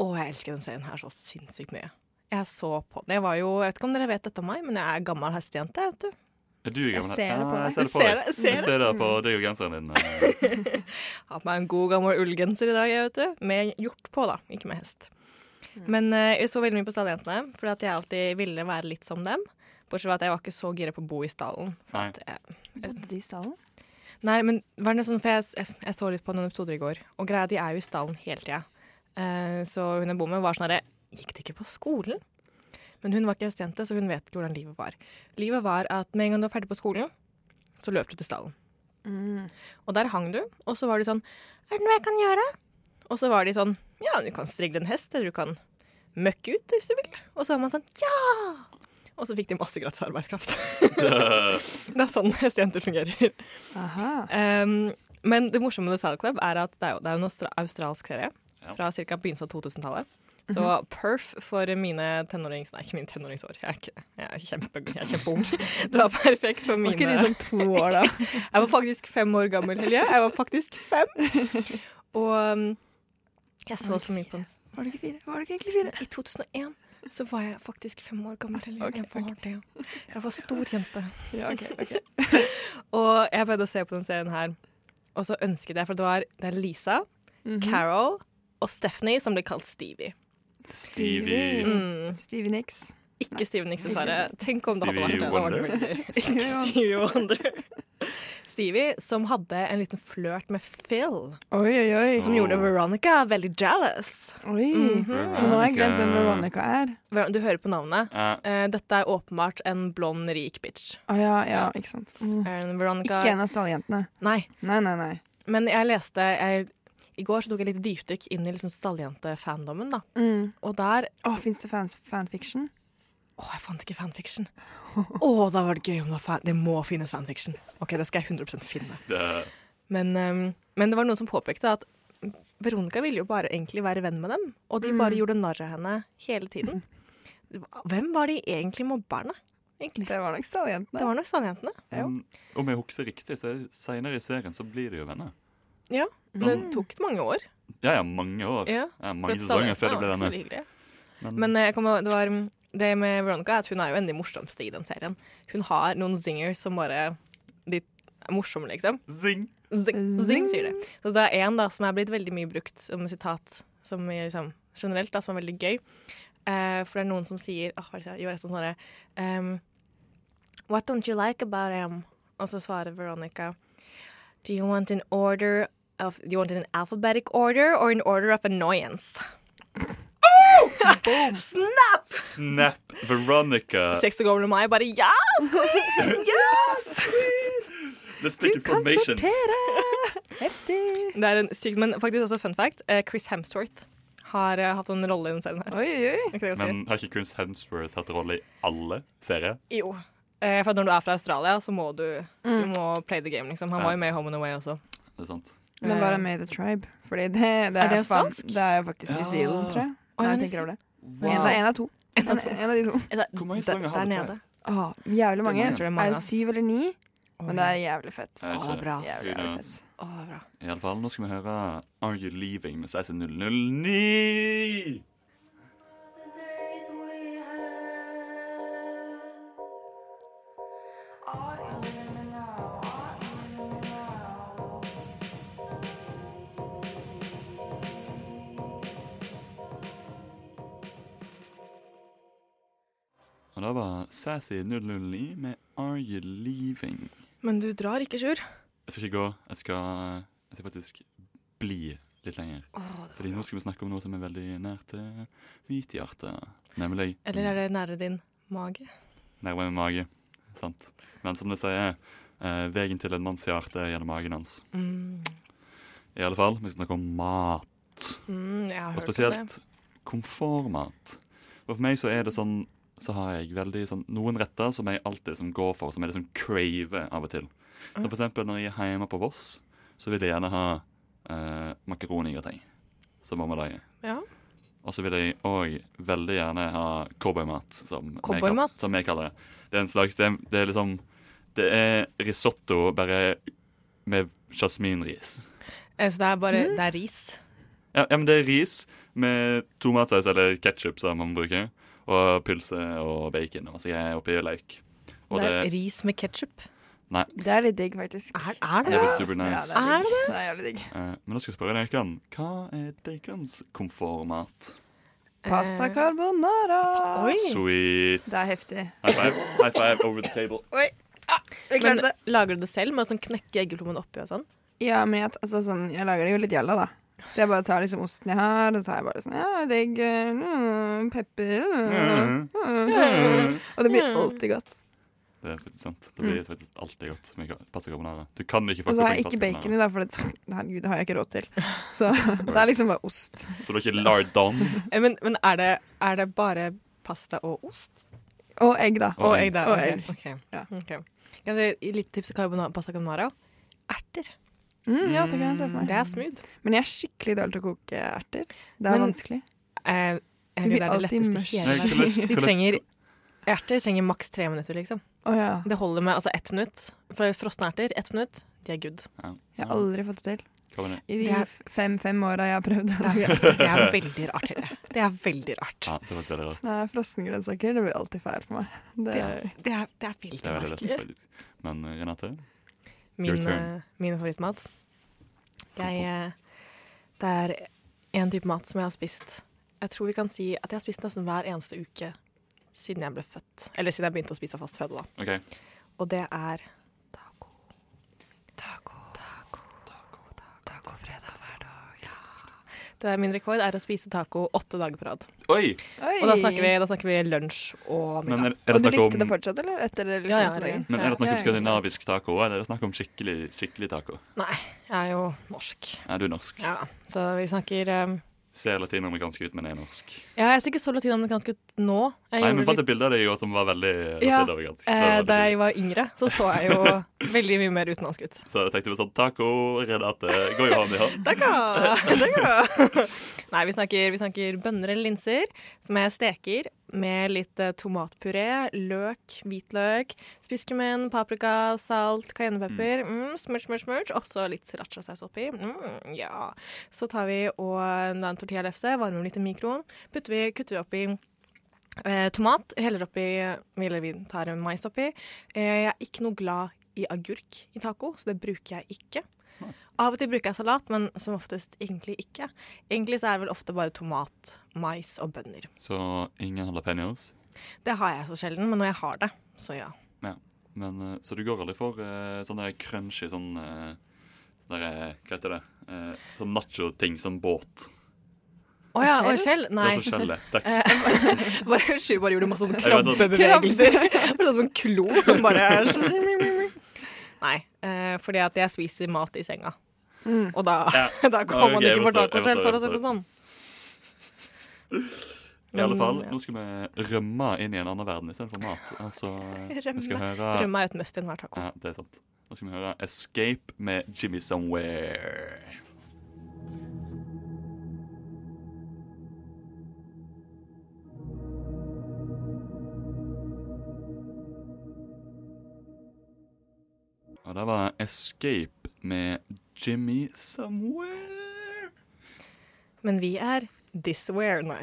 Speaker 5: Å, jeg elsker den serien her så sinnssykt mye. Jeg så på den. Jeg var jo, jeg vet ikke om dere vet dette om meg, men jeg er gammel hestejente. vet du.
Speaker 3: Er du gammel?
Speaker 4: ser det på
Speaker 3: Ja,
Speaker 4: deg.
Speaker 3: Jeg ser det på
Speaker 5: Ser
Speaker 3: deg.
Speaker 5: det, ser
Speaker 3: Jeg
Speaker 5: det.
Speaker 3: ser det på deg og genseren din. eh,
Speaker 5: Har på meg en god gammel ullgenser i dag, jeg, vet du. Med hjort på, da. Ikke med hest. Men eh, jeg så veldig mye på Stalljentene, fordi at jeg alltid ville være litt som dem. Bortsett fra at jeg var ikke så gira på å bo i stallen. For
Speaker 3: Nei.
Speaker 5: at jeg,
Speaker 4: Bodde de i stallen?
Speaker 5: Nei, men var det nesten, for jeg, jeg, jeg så litt på noen episoder i går, og greia de er jo i stallen hele tida. Eh, så hun jeg bor med, var sånn herre Gikk det ikke på skolen? Men hun var ikke hestejente, så hun vet ikke hvordan livet var. Livet var at med en gang du var ferdig på skolen, så løp du til stallen. Og der hang du, og så var du sånn Er det noe jeg kan gjøre? Og så var de sånn Ja, du kan strigle en hest, eller du kan møkke ut hvis du vil. Og så var man sånn Ja! Og så fikk de masse gratis arbeidskraft. det er sånn <laughs> hestejenter fungerer.
Speaker 4: Aha.
Speaker 5: Um, men det morsomme med The Saddle Club er at det er jo, det er jo en austra- australsk serie
Speaker 3: Ja.
Speaker 5: fra ca. begynnelsen av 2000-tallet. Så
Speaker 4: Mhm.
Speaker 5: perf for mine tenårings... Nei, ikke mine tenåringsår. Jeg er, ikke, jeg er, kjempe, jeg er kjempeung. <laughs> Det var perfekt for
Speaker 4: Var
Speaker 5: mine
Speaker 4: ikke du sånn to år, da?
Speaker 5: <laughs> jeg var faktisk fem år gammel, Helje. Jeg var faktisk
Speaker 4: <laughs>
Speaker 5: fem. Og um, jeg så så mye på den.
Speaker 4: Var det ikke fire? Var det ikke
Speaker 5: <laughs>
Speaker 4: egentlig fire?
Speaker 5: I 2001 så var jeg faktisk fem år gammel, Helje.
Speaker 4: Ok,
Speaker 5: jeg, var det. jeg var stor jente.
Speaker 4: Ja, ok, ok.
Speaker 5: Og jeg pleide å se på den serien her, og så ønsket jeg, for det var det er Lisa,
Speaker 4: Mhm.
Speaker 5: Carol og Stephanie som ble kalt Stevie.
Speaker 4: Mm.
Speaker 5: Mm.
Speaker 3: Stevie.
Speaker 4: Stevie Nicks.
Speaker 5: Ikke Stevie Nicks, dessverre. Tenk om det hadde vært
Speaker 3: Stevie
Speaker 5: det. da var det
Speaker 4: <laughs>
Speaker 5: veldig- Ikke Stevie Wonder. Stevie som hadde en liten flørt med Phil,
Speaker 4: Oi, oi, oi.
Speaker 5: som gjorde Veronica veldig jealous.
Speaker 4: Oi.
Speaker 5: Mhm.
Speaker 4: Men nå har jeg glemt hvem Veronica er.
Speaker 5: Ver- Du hører på navnet.
Speaker 3: Ja.
Speaker 5: Eh, Dette er åpenbart en blond, rik bitch.
Speaker 4: Å ja, ja, ikke sant. Mm.
Speaker 5: Eh, Veronica
Speaker 4: Ikke en av stalljentene.
Speaker 5: Nei,
Speaker 4: Nei, nei, nei.
Speaker 5: Men jeg leste jeg, I går så tok jeg litt dypdykk inn i liksom stalljente-fandomen. da.
Speaker 4: Mm.
Speaker 5: Og der
Speaker 4: Å, fins det fans fanfiction?
Speaker 5: Å, jeg fant ikke fanfiction. Å, da var det gøy om det var fan... Det må finnes fanfiction. OK, det skal jeg 100 finne.
Speaker 3: Det-
Speaker 5: Men, ehm, men det var noen som påpekte at Veronica ville jo bare egentlig være venn med dem, og de bare gjorde narr av henne hele tiden. Hvem var de egentlig mobberne? Egentlig?
Speaker 4: Det var nok Stallejentene.
Speaker 5: Det var nok Sandjentene.
Speaker 4: Ja.
Speaker 3: Om, om jeg husker riktig, så er- senere i serien så blir de jo venner.
Speaker 5: Ja, men det tok mange år.
Speaker 3: Ja, ja, mange år.
Speaker 5: Ja,
Speaker 3: Ja,
Speaker 5: for
Speaker 3: mange
Speaker 5: at
Speaker 3: sesonger før
Speaker 5: Sandjentene
Speaker 3: det ble
Speaker 5: var så
Speaker 3: venner.
Speaker 5: hyggelige.
Speaker 3: Men-
Speaker 5: Men eh, jeg kommer- det, var, mm, det med Veronica er at hun er jo en av de morsomste i den serien. Hun har noen zingers som bare De er morsomme, liksom.
Speaker 3: Zing!
Speaker 5: Zing, zing,
Speaker 4: Zing.
Speaker 5: sier de. Så det er en da, som er blitt veldig mye brukt som sitat som, i, liksom, generelt, da, som er veldig gøy. Eh, for det er noen som sier åh, hva er det jeg sier? Jo, rett og slett sånn derre ehm, What don't you like about him? Og så svarer Veronica Do you want an order of Do you want an alphabetic order or an order of annoyance?
Speaker 3: Eh. Snap! Veronica!
Speaker 5: Seks år gamle meg bare ja!
Speaker 3: <laughs> Let's take information!
Speaker 5: Det er en syk, men faktisk også fun fact. eh, Chris Hemsworth har eh, hatt en rolle i den serien her. <laughs>
Speaker 4: Oi, oi.
Speaker 5: Er ikke det ganske gøy?
Speaker 3: Men har ikke Chris Hemsworth hatt rolle i alle serier?
Speaker 5: Jo. Eh, for at når du er fra Australia, så må du, du må play the game, liksom. Han var jo med i Home and Away også. Eh,
Speaker 3: Det er sant.
Speaker 4: Men var han med i The Tribe? Fordi det, det
Speaker 5: Er
Speaker 4: er,
Speaker 5: det
Speaker 4: faen-
Speaker 5: australsk?
Speaker 4: Det er jo faktisk New Zealand, tror jeg.
Speaker 5: Oi,
Speaker 4: Nei,
Speaker 5: det er
Speaker 4: jeg tenker over det. En, av- en av to. En, en av de to.
Speaker 3: Hvor mange sanger har
Speaker 5: Der
Speaker 3: du til?
Speaker 5: nede.
Speaker 4: Åh, jævlig mange.
Speaker 5: Jeg tror det er mange,
Speaker 4: Er det
Speaker 5: ass.
Speaker 4: syv eller ni? Men det
Speaker 5: Oi.
Speaker 4: er jævlig fett.
Speaker 3: Jeg vet
Speaker 5: Å,
Speaker 3: ikke.
Speaker 5: bra, ass.
Speaker 4: Jævlig, jævlig fett.
Speaker 5: Å, det er bra.
Speaker 3: I alle fall, nå skal vi høre Are You Leaving med 16009. Og da var Sassy 009 med Are You Leaving.
Speaker 5: Men du drar ikke, Sjur.
Speaker 3: Jeg skal ikke gå. Jeg skal, jeg skal faktisk bli litt lenger. Fordi nå skal vi snakke om noe som er veldig nært til mitt hjerte. Nemlig
Speaker 5: Eller er det nære din mage?
Speaker 3: nærmere mage. Sant. Men som det sier, eh, veien til en manns hjerte er gjennom magen hans. I alle fall, vi skal snakke om mat.
Speaker 5: Mm, jeg har
Speaker 3: Og
Speaker 5: hørt om det.
Speaker 3: spesielt komfortmat. Og for meg så er det sånn så har jeg veldig sånn, noen retter som jeg alltid liksom går for, som jeg liksom craver av og til. Så for eksempel når jeg er hjemme på Voss, så vil jeg gjerne ha eh, makaroni-grateng som marmelade.
Speaker 5: Ja.
Speaker 3: Og så vil jeg òg veldig gjerne ha cowboymat, som, jeg kall-
Speaker 5: Cowboymat?
Speaker 3: som jeg kaller det. Det er en slags Det er, det er liksom Det er risotto bare med jasminris.
Speaker 5: Eh, Så det er bare Det er ris.
Speaker 3: Ja, ja, men det er ris med tomatsaus eller ketsjup som man bruker. Og pølse og bacon og masse greier oppi løk. Og
Speaker 5: det er
Speaker 3: det,
Speaker 5: ris med ketsjup.
Speaker 4: Det er litt digg, faktisk.
Speaker 5: Er, er
Speaker 3: det er
Speaker 5: det det?
Speaker 3: litt super nice.
Speaker 4: Ja,
Speaker 5: Ah. Er
Speaker 4: det? Er digg. det er jævlig digg.
Speaker 3: Eh, men da skal jeg spørre dere, hva er deres komfortmat?
Speaker 4: Pasta carbonara.
Speaker 5: Eh. Oi!
Speaker 3: Sweet.
Speaker 4: Det er heftig.
Speaker 3: High five, high five over the table.
Speaker 5: Men lager du det selv med å sånn knekke eggeplommen oppi og sånn?
Speaker 4: Ja, men jeg, altså, sånn, jeg lager det jo litt gjalla, da. Så jeg bare tar liksom osten jeg har, og så tar jeg bare sånn ja, digg, eh, mm, pepper mm, mm. Og det blir alltid godt.
Speaker 3: Det er faktisk sant. Det blir faktisk alltid godt med pasta carbonara. Du kan ikke
Speaker 4: Mm. Og
Speaker 3: fucke
Speaker 4: så
Speaker 3: opp
Speaker 4: har
Speaker 3: en
Speaker 4: jeg
Speaker 3: pasta
Speaker 4: ikke bacon i,
Speaker 3: carbonara.
Speaker 4: da, for det, herregud, det har jeg ikke råd til. <laughs> Så det er liksom bare ost.
Speaker 3: Så du har ikke lardon
Speaker 5: Eh, Men, men er, det, er det bare pasta og ost?
Speaker 4: Og egg, da.
Speaker 3: Og
Speaker 5: Og egg, da.
Speaker 4: Og
Speaker 5: ok.
Speaker 4: egg.
Speaker 5: Ok.
Speaker 4: Ja.
Speaker 5: Ok. Kan jeg gi litt tips til carbona- pasta carbonara? Erter.
Speaker 4: Mm, ja, det kan jeg se for
Speaker 5: Det
Speaker 4: meg.
Speaker 5: er smooth.
Speaker 4: Men jeg er skikkelig dårlig til å koke erter. Det er
Speaker 5: Men-
Speaker 4: vanskelig.
Speaker 5: Eh,
Speaker 4: Det blir
Speaker 5: egentlig det er det
Speaker 4: alltid
Speaker 5: letteste i
Speaker 4: mørkt.
Speaker 5: hele
Speaker 3: Nei,
Speaker 5: verden.
Speaker 3: hvordan- hvordan-
Speaker 5: De trenger Erter trenger maks tre minutter, liksom.
Speaker 4: Å ja.
Speaker 5: Det holder med altså ett minutt. For frosne erter, ett minutt, de er good.
Speaker 4: Jeg har aldri fått det til.
Speaker 3: Hva var det?
Speaker 4: I
Speaker 5: Det
Speaker 4: de
Speaker 5: er-
Speaker 4: fem-fem åra jeg har prøvd å lage <laughs> erter.
Speaker 5: Det er veldig rart, Hilde. Det er veldig rart.
Speaker 3: Ja, det var veldig rart.
Speaker 4: Nei, Frosne grønnsaker det blir alltid feil for meg. Det,
Speaker 5: Det er, det er veldig
Speaker 3: Det er veldig
Speaker 5: merkelig.
Speaker 3: rart faktisk. Men eh, Renate? Your
Speaker 5: Min,
Speaker 3: turn.
Speaker 5: eh, min favorittmat. Jeg eh, Det er en type mat som jeg har spist Jeg tror vi kan si at jeg har spist nesten hver eneste uke siden jeg ble født. Eller siden jeg begynte å spise fast føde, da.
Speaker 3: OK.
Speaker 5: Og det er taco. Taco.
Speaker 4: Tacofredag hver dag.
Speaker 5: Det er min rekord er å spise taco åtte dager på rad.
Speaker 3: Oi!
Speaker 4: Oi.
Speaker 5: Og da snakker vi, da snakker vi lunsj og
Speaker 3: Men
Speaker 5: middag.
Speaker 3: er, er det
Speaker 4: og du
Speaker 3: snakk
Speaker 4: likte
Speaker 3: om
Speaker 4: det fortsatt, eller? Etter liksom,
Speaker 5: Ja, ja,
Speaker 4: to
Speaker 5: det-
Speaker 4: dager?
Speaker 3: Men er det snakk
Speaker 4: Ja,
Speaker 3: om
Speaker 4: ja,
Speaker 3: skandinavisk taco, eller er det snakk om skikkelig, skikkelig taco?
Speaker 5: Nei, jeg er jo norsk.
Speaker 3: Er du norsk?
Speaker 5: Ja, Så vi snakker um,
Speaker 3: ser latinamerikansk ut, men er norsk.
Speaker 5: Ja, jeg ser ikke så latinamerikansk ut nå. Jeg
Speaker 3: Nei,
Speaker 5: gjorde
Speaker 3: men
Speaker 5: det
Speaker 3: fant et bilde av deg i går som var veldig
Speaker 5: Ja,
Speaker 3: latinamerikansk. Det
Speaker 5: Eh,
Speaker 3: var
Speaker 5: da
Speaker 3: veldig
Speaker 5: jeg var yngre, så så
Speaker 3: <laughs>
Speaker 5: jeg jo veldig mye mer utenlandsk ut.
Speaker 3: fint. Så jeg tenkte vi sånn taco, Renate, går jo hånd i
Speaker 5: <laughs>
Speaker 3: hånd.
Speaker 5: Takka! Takka! Nei, vi snakker, vi snakker bønner eller linser, som jeg steker med litt eh, tomatpuré, løk, hvitløk, spisskummen, paprika, salt, cayennepepper, mm, smurt, smurt, smurt, og så litt sriracha-saus oppi. Mm, ja. Så tar vi og eh, da en tortillalefse, varmer den litt i mikroen, putter vi, kutter vi oppi eh, tomat, heller oppi, eller vi tar mais oppi. Eh, jeg er ikke noe glad i agurk i taco, så det bruker jeg ikke. Av og til bruker jeg salat, men som oftest egentlig ikke. Egentlig så er det vel ofte bare tomat, mais og bønner.
Speaker 3: Så ingen jalapeños.
Speaker 5: Det har jeg så sjelden, men når jeg har det, så ja.
Speaker 3: Men, eh, så du går aldri for eh, sånn der crunchy sånn eh, sånn der, eh, Hva heter det? Eh, sånn nacho-ting, sånn båt.
Speaker 5: Å ja, og skjell?
Speaker 3: Det
Speaker 5: Nei. Eh,
Speaker 3: er så
Speaker 5: <laughs>
Speaker 3: skjellet. Takk.
Speaker 5: Bare, Sju bare gjorde <laughs> masse sånn sånne
Speaker 3: Jeg vet at-
Speaker 5: krabbebevegelser. <laughs> Bare sånn som en klo som bare er sånn- Nei, eh, fordi at jeg spiser mat i senga. Og da,
Speaker 3: Ja.
Speaker 5: <laughs> da kan man
Speaker 3: Ok, jeg
Speaker 5: ikke få
Speaker 3: forstår, jeg
Speaker 5: tacoskjell, for å
Speaker 3: forstår,
Speaker 5: si
Speaker 3: jeg
Speaker 5: det sånn.
Speaker 3: I alle
Speaker 5: Men,
Speaker 3: fall,
Speaker 5: ja.
Speaker 3: nå skal vi rømme inn i en annen verden istedenfor mat. Altså,
Speaker 5: <laughs>
Speaker 3: eh, vi skal høre
Speaker 5: Drømmer er jo et must i enhver taco.
Speaker 3: Ja, det er sant. Nå skal vi høre 'Escape' med Jimmy Somewhere. Og det var 'Escape' med Jimmy Somewhere.
Speaker 5: Men vi er thisware, nei.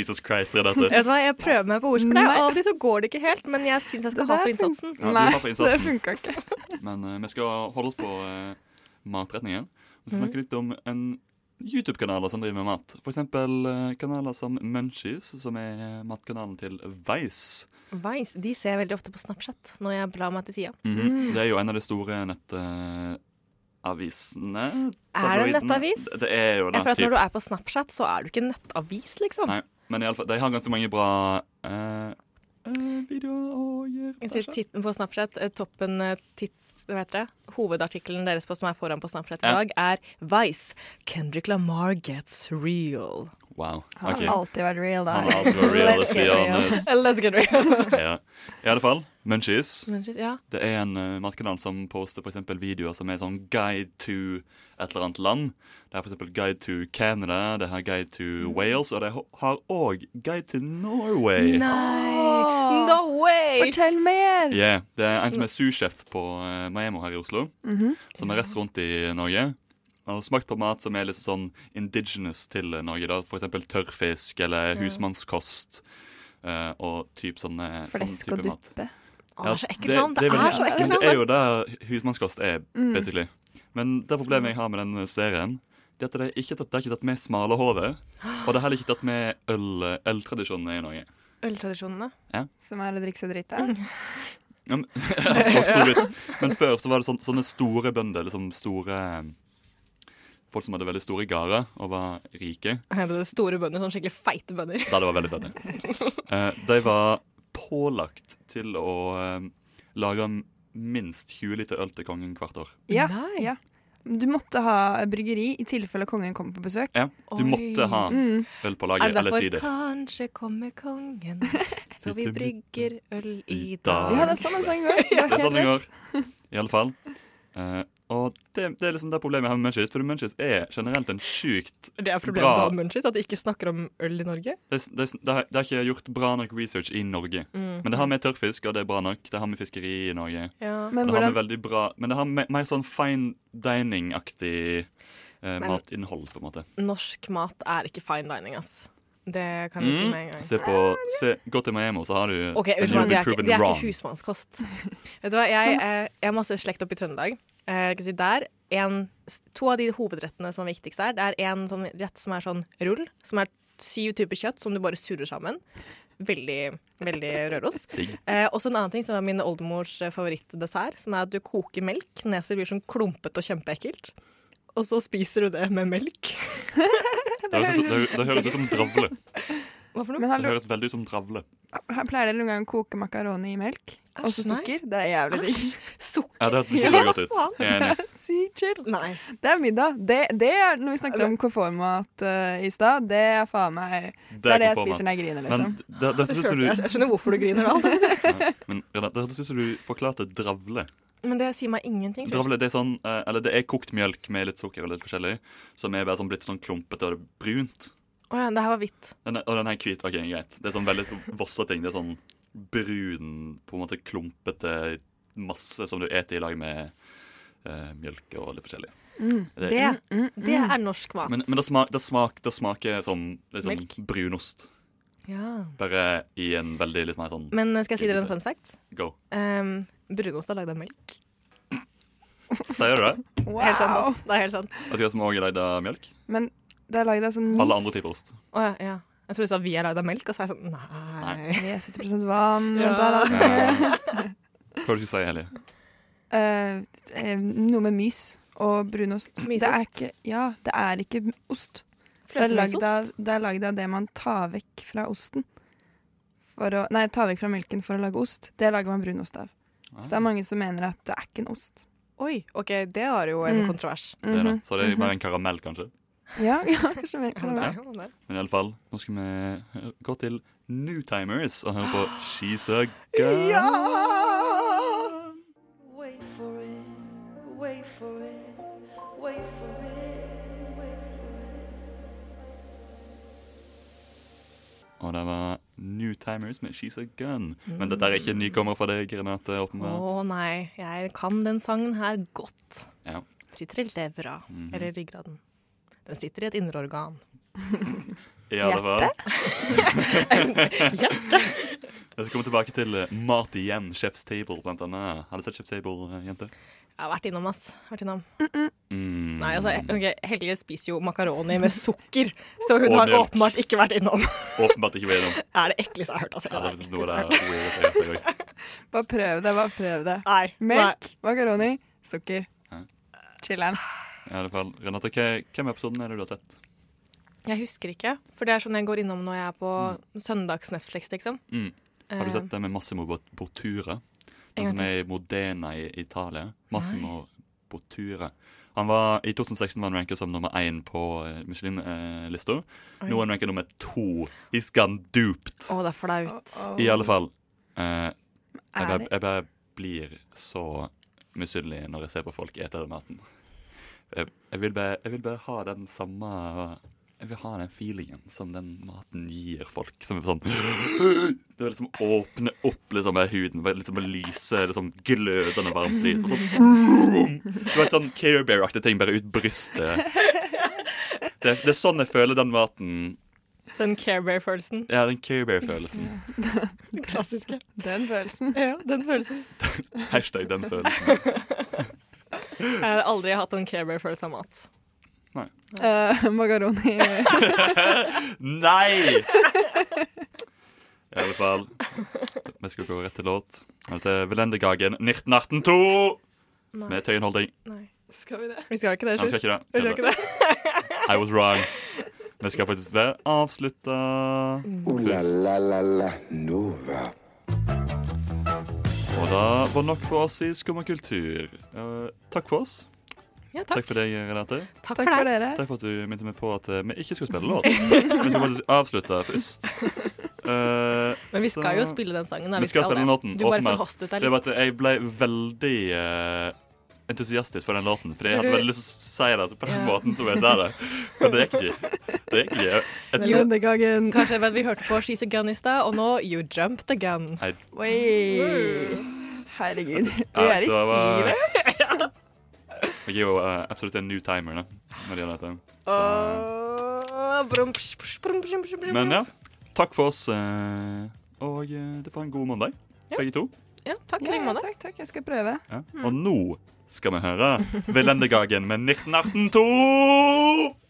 Speaker 3: Jesus Christ, det er dette.
Speaker 5: Vet du hva, Jeg prøver meg på ordspillet.
Speaker 4: Nei.
Speaker 5: og Av og til så går det ikke helt, men jeg syns jeg skal ha for innsatsen.
Speaker 3: Ja, du
Speaker 4: Nei,
Speaker 3: har for
Speaker 4: <laughs> det
Speaker 3: innsatsen.
Speaker 4: funka ikke.
Speaker 3: Men eh, vi skal holde oss på eh, matretninger. Vi
Speaker 5: Mhm.
Speaker 3: skal snakke litt om en YouTube-kanaler som driver med mat. For eksempel eh, kanaler som Munchies, som er matkanalen til Vice.
Speaker 5: Vice, de ser jeg veldig ofte på Snapchat når jeg blar meg til tida.
Speaker 3: Det er jo en av de store nettavisene.
Speaker 5: Er det en
Speaker 3: tabloiden.
Speaker 5: nettavis?
Speaker 3: Det, det er jo
Speaker 5: Ja,
Speaker 3: det.
Speaker 5: for at
Speaker 3: typ.
Speaker 5: når du er på Snapchat, så er du ikke en nettavis, liksom.
Speaker 3: Nei, men i alle fall, de har ganske mange bra eh, eh, videoer å gjøre.
Speaker 5: Jeg sier titten på Snapchat, eh, toppen eh, tids... Hva heter det? Hovedartikkelen deres på, som er foran på Snapchat i
Speaker 3: Ja.
Speaker 5: dag, er Vice. Kendrick Lamar gets real. <laughs>
Speaker 3: Wow.
Speaker 4: Han
Speaker 3: ok.
Speaker 4: har alltid vært real, da.
Speaker 3: Han er altså real, let's be honest.
Speaker 5: Let's get real.
Speaker 3: <laughs> Ja. I alle fall, Munchies.
Speaker 5: Men, ja.
Speaker 3: Det er en uh, matkanal som poster for eksempel videoer som er sånn guide to et eller annet land. Det er for eksempel guide to Canada, det har guide
Speaker 4: Mm.
Speaker 3: to Wales, og det ho- har òg guide to Norway.
Speaker 5: Nei! No way!
Speaker 4: Fortell mer!
Speaker 3: Yeah. Det er en som er sursjef på uh, Maemo her i Oslo,
Speaker 4: Mm-hmm.
Speaker 3: som har reist rundt i Norge. Han har smakt på mat som er litt sånn indigenous til eh, Norge. da, For eksempel tørrfisk eller husmannskost. eh, og typ sånne
Speaker 4: Flesk
Speaker 3: sånn
Speaker 4: og
Speaker 3: type mat.
Speaker 4: duppe.
Speaker 5: Å, det er så ekkelt
Speaker 3: det-
Speaker 5: navn. Det
Speaker 3: det veldig-
Speaker 5: er så ekkelt
Speaker 3: Men
Speaker 5: navn. Mm.
Speaker 3: Det er jo det husmannskost er, basically. Men det problemet jeg har med den serien, det er at det er ikke tatt, det er ikke tatt med smalahove. Og det er heller ikke tatt med øl- øltradisjonene i
Speaker 5: <laughs>
Speaker 3: Norge.
Speaker 5: Øltradisjonene.
Speaker 4: Som er å drikke seg drita.
Speaker 5: <laughs>
Speaker 3: Ja, men- Absolutt. Men før så var det sånn, sånne store bønder, liksom store Folk som hadde veldig store gårder og var rike.
Speaker 5: Det er store bønder, sånn skikkelig feite bønder.
Speaker 3: Ja, det var veldig funny. Eh, de var pålagt til å eh, lage minst 20 liter øl til kongen hvert år.
Speaker 4: Ja,
Speaker 5: Nei.
Speaker 4: ja. Du måtte ha bryggeri i tilfelle kongen kommer på besøk.
Speaker 3: Ja, du
Speaker 5: Oi. Mm.
Speaker 3: måtte ha øl på laget, eller sider.
Speaker 5: Kanskje kommer
Speaker 3: <laughs>
Speaker 5: kongen, så vi
Speaker 3: Sitter
Speaker 5: brygger øl i
Speaker 3: i
Speaker 5: dag.
Speaker 3: dag.
Speaker 4: Ja, det er sånn en sang
Speaker 3: <laughs>
Speaker 4: går.
Speaker 3: Det er sånn det går. I alle fall. Eh, og det, det er liksom det problemet jeg har med Munchies, for Munchies er generelt en sjukt
Speaker 5: Det er
Speaker 3: problemet til å ha
Speaker 5: Munchies, at de ikke snakker om øl i Norge.
Speaker 3: Det er- det er- det har det har ikke gjort bra nok research i Norge.
Speaker 5: Mm.
Speaker 3: Men det har med tørrfisk, og det er bra nok. Det har med fiskeri i Norge.
Speaker 5: Ja.
Speaker 3: Men det
Speaker 4: Men
Speaker 3: har
Speaker 4: hvordan
Speaker 3: med veldig bra Men det har med mer sånn fine dining-aktig eh,
Speaker 5: Men-
Speaker 3: matinnhold, på en måte.
Speaker 5: Norsk mat er ikke fine dining, ass. Det kan jeg si med en gang.
Speaker 3: Se på se, Gå til Maemo, så har du
Speaker 5: Ok,
Speaker 3: and
Speaker 5: unnskyld
Speaker 3: you'll
Speaker 5: meg,
Speaker 3: be
Speaker 5: det er, ikke,
Speaker 3: proven
Speaker 5: det er
Speaker 3: wrong.
Speaker 5: ikke husmannskost. Vet du hva, jeg, eh, jeg har masse slekt opp i Trøndelag. Eh, Jeg kan si der, en, s- to av de hovedrettene som er viktigst der, det er en sånn rett som er sånn rull, som er syv typer kjøtt som du bare surrer sammen. Veldig, veldig røros.
Speaker 3: Digg.
Speaker 5: Eh, også en annen ting som er min oldemors eh, favorittdessert, som er at du koker melk, neset blir sånn klumpet og kjempeekkelt. Og så spiser du det med melk.
Speaker 3: Det høres ut som- det høres ut som dravle.
Speaker 5: Hva for noe?
Speaker 4: Men
Speaker 3: Det
Speaker 4: hallo,
Speaker 3: høres veldig ut som dravle.
Speaker 4: her pleier dere noen gang å koke makaroni i melk? Og så
Speaker 5: Æsj, nei.
Speaker 4: sukker. Det er jævlig digg. <laughs>
Speaker 5: Sukker?
Speaker 3: Ja, det hørtes ikke veldig godt ut. Jeg er enig.
Speaker 4: Sykt chill.
Speaker 5: Nei.
Speaker 4: Det er middag. Det, det er når vi snakket om konformat eh, i stad. Det er faen meg Det er det
Speaker 3: konformer.
Speaker 4: jeg spiser liksom. når jeg griner,
Speaker 3: Men
Speaker 4: liksom.
Speaker 3: det, det, hørtes ut som
Speaker 5: Hørte
Speaker 3: du,
Speaker 5: jeg, jeg skjønner hvorfor du griner og alt.
Speaker 3: men, Renate, det hørtes ut som du forklarte dravle.
Speaker 5: Men det sier meg ingenting.
Speaker 3: Dravle det er sånn, eh, eller det er kokt mjølk med litt sukker og litt forskjellig, som er bare sånn blitt sånn klumpete og brunt.
Speaker 5: Å ja, det her var hvitt.
Speaker 3: Den er, og den her er hvit. OK, greit. Det er sånn veldig sånn Vossa-ting. Det er sånn brun, på en måte klumpete masse som du eter i lag med eh, mjølk og litt forskjellig. Det-
Speaker 5: Det, det er norsk mat.
Speaker 3: Men, men det, smak, det, smak, det smaker som
Speaker 5: Melk.
Speaker 3: liksom brunost.
Speaker 5: ja.
Speaker 3: Bare i en veldig litt mer sånn
Speaker 5: men eh, skal jeg si dere en fun fact?
Speaker 4: <laughs>
Speaker 3: go.
Speaker 5: Um, Brunost er lagd av melk.
Speaker 3: Sier du det?
Speaker 5: Helt sant,
Speaker 4: Wow.
Speaker 5: ass. Det er helt sant.
Speaker 3: At de som også er lagd av mjølk?
Speaker 4: Men det er lagd av sånn
Speaker 3: Alle andre typer <laughs> ost.
Speaker 5: Å ja, ja. Jeg trodde du sa vi er lagd av melk, og så er jeg sånn nei. <laughs>
Speaker 4: 70 vann.
Speaker 5: Ja.
Speaker 4: det er lagd-
Speaker 3: Eh, Hva er det du sier, Helje?
Speaker 4: Eh, eh, noe med mys og brunost.
Speaker 5: Mysost?
Speaker 4: Det er ikke, ja, det er ikke ost. Det er lagd
Speaker 5: Fløtemysost?
Speaker 4: av, det er lagd av det man tar vekk fra osten. For å, nei, tar vekk fra melken for å lage ost. Det lager man brunost av.
Speaker 3: Ah.
Speaker 4: Så det er mange som mener at det er ikke en ost.
Speaker 5: Oi, ok, det var jo en
Speaker 4: Mm.
Speaker 5: kontrovers.
Speaker 3: Det er det. Så det er bare en karamell, kanskje.
Speaker 4: Ja, <laughs> ja, kanskje mer kan det
Speaker 5: Ja,
Speaker 4: være.
Speaker 5: det er.
Speaker 3: Men i alle fall, nå skal vi hø- gå til Newtimers og høre på She's a Girl.
Speaker 8: Wait for it, wait for it, wait for it, wait
Speaker 3: Og det var Newtimers med She's a Gun. Men dette er ikke en nykommer for deg, Renate.
Speaker 5: Å
Speaker 3: åpenbart.
Speaker 5: nei, jeg kan den sangen her godt.
Speaker 3: Ja. Mhm.
Speaker 5: Sitter i levra, eller ryggraden. Den sitter i et indre
Speaker 3: <laughs>
Speaker 5: organ.
Speaker 3: I alle fall,
Speaker 5: Hjertet!
Speaker 3: jeg skal komme tilbake til eh, Mat igjen, Chef's Table, blant annet. Har du sett Chef's Table, eh, jente?
Speaker 5: Jeg har vært innom, ass. Vært innom.
Speaker 3: Mm.
Speaker 5: Nei, altså, ok, Helge spiser jo makaroni med sukker, så hun
Speaker 3: Og
Speaker 5: har
Speaker 3: melk.
Speaker 5: åpenbart ikke vært innom.
Speaker 3: Åpenbart ikke ved dem.
Speaker 5: Det er det ekleste jeg har hørt.
Speaker 3: <laughs>
Speaker 5: Altså.
Speaker 3: Ja, det er
Speaker 5: Det
Speaker 3: faktisk
Speaker 5: er
Speaker 3: noe
Speaker 5: det
Speaker 3: der weird jeg har hørt i dag.
Speaker 4: <laughs> Bare prøv det. bare prøv det
Speaker 5: Nei.
Speaker 4: Melk, makaroni, sukker.
Speaker 3: Ja.
Speaker 4: Chiller'n.
Speaker 3: I alle fall, Renate, hva- hvem episoden er det du har sett?
Speaker 5: Nei. Jeg husker ikke, for det er sånn jeg går innom når jeg er på søndags-Netflix, liksom.
Speaker 3: Mm. Har du
Speaker 5: Eh,
Speaker 3: sett det med Massimo Bot- Bottura? Den
Speaker 5: En gang
Speaker 3: som er i Modena i Italia. Massimo Bottura. Han var, I 2016 var han ranket som nummer én på eh, Michelin-lista. Nå er han ranket nummer to. He's gone duped.
Speaker 5: Eh, Å, det er flaut.
Speaker 3: I alle fall. eh, jeg,
Speaker 4: Er
Speaker 3: bare,
Speaker 4: det-
Speaker 3: jeg bare blir så misunnelig når jeg ser på folk ete den maten. Jeg, jeg, vil bare, jeg vil bare ha den samme Jeg vil ha den feelingen som den maten gir folk. Som er sånn Det er liksom å åpne opp liksom, med huden, bare liksom å lyse liksom, glødende varmt lys. og Sånn, du vet sånn Care Bear-aktige ting bare ut brystet. Det, det er sånn jeg føler den maten.
Speaker 5: Den Care Bear-følelsen.
Speaker 3: Ja, den Care Bear-følelsen.
Speaker 5: Den klassiske. <laughs>
Speaker 4: Den følelsen.
Speaker 5: Ja, den følelsen.
Speaker 3: Hashtag den følelsen.
Speaker 5: Jeg har aldri hatt en Care Bear-følelse av mat.
Speaker 4: Eh, makaroni.
Speaker 3: <laughs> Nei! I alle fall. Vi skal gå rett til låt. Dette er Velendegagen 1918-2
Speaker 5: Nei.
Speaker 3: med Tøyenholding.
Speaker 5: Nei. Skal vi det? Vi skal ikke det,
Speaker 3: Nei, vi skal
Speaker 5: Sjur.
Speaker 3: ikke det.
Speaker 5: Vi skal ikke det.
Speaker 3: I was wrong. Vi skal faktisk være avslutta
Speaker 5: Mm.
Speaker 2: Ooh la
Speaker 3: først.
Speaker 2: la la la Nova.
Speaker 3: Og da var nok for oss i Skumma kultur. Eh, takk for oss.
Speaker 5: Ja,
Speaker 3: Takk for deg, Renate.
Speaker 5: Takk
Speaker 4: Takk
Speaker 5: for
Speaker 4: for
Speaker 5: deg.
Speaker 4: dere.
Speaker 3: Takk for at du minte meg på at eh, vi ikke skulle spille
Speaker 5: <laughs>
Speaker 3: låt. Vi skal faktisk avslutte først. Eh,
Speaker 5: Men vi skal
Speaker 3: så-
Speaker 5: jo spille den sangen. da.
Speaker 3: Vi skal spille
Speaker 5: det.
Speaker 3: den låten,
Speaker 5: Du bare
Speaker 3: åpenbart.
Speaker 5: forhostet deg
Speaker 3: Det var at
Speaker 5: litt.
Speaker 3: jeg ble veldig eh, entusiastisk for den låten. Fordi jeg
Speaker 5: Tror
Speaker 3: hadde
Speaker 5: du-
Speaker 3: veldig lyst til å si det altså, på den
Speaker 5: Ja.
Speaker 3: måten som jeg sa det. Men det gikk ikke. Det gikk ikke. Jeg, jeg,
Speaker 4: Velendegagen.
Speaker 5: Kanskje vet, vi hørte på She's a Gun i stad, og nå You Jump the Gun.
Speaker 4: Oi. Herregud. Vi
Speaker 3: ja,
Speaker 4: er i
Speaker 3: det var-
Speaker 4: sivet.
Speaker 3: jeg er jo eh, absolutt en new timer da, når det gjelder dette. Så,
Speaker 5: Åh, brum, psh, psh, brum, psh, psh, brum.
Speaker 3: eh, men ja, takk for oss. eh, og eh, det får en god mandag, begge to.
Speaker 5: Ja, Mm. takk i
Speaker 4: Ja,
Speaker 5: like
Speaker 4: ja,
Speaker 5: måte.
Speaker 4: takk, takk. Jeg skal prøve.
Speaker 3: Ja. Og nå skal vi høre Velendegagen med 1918-2!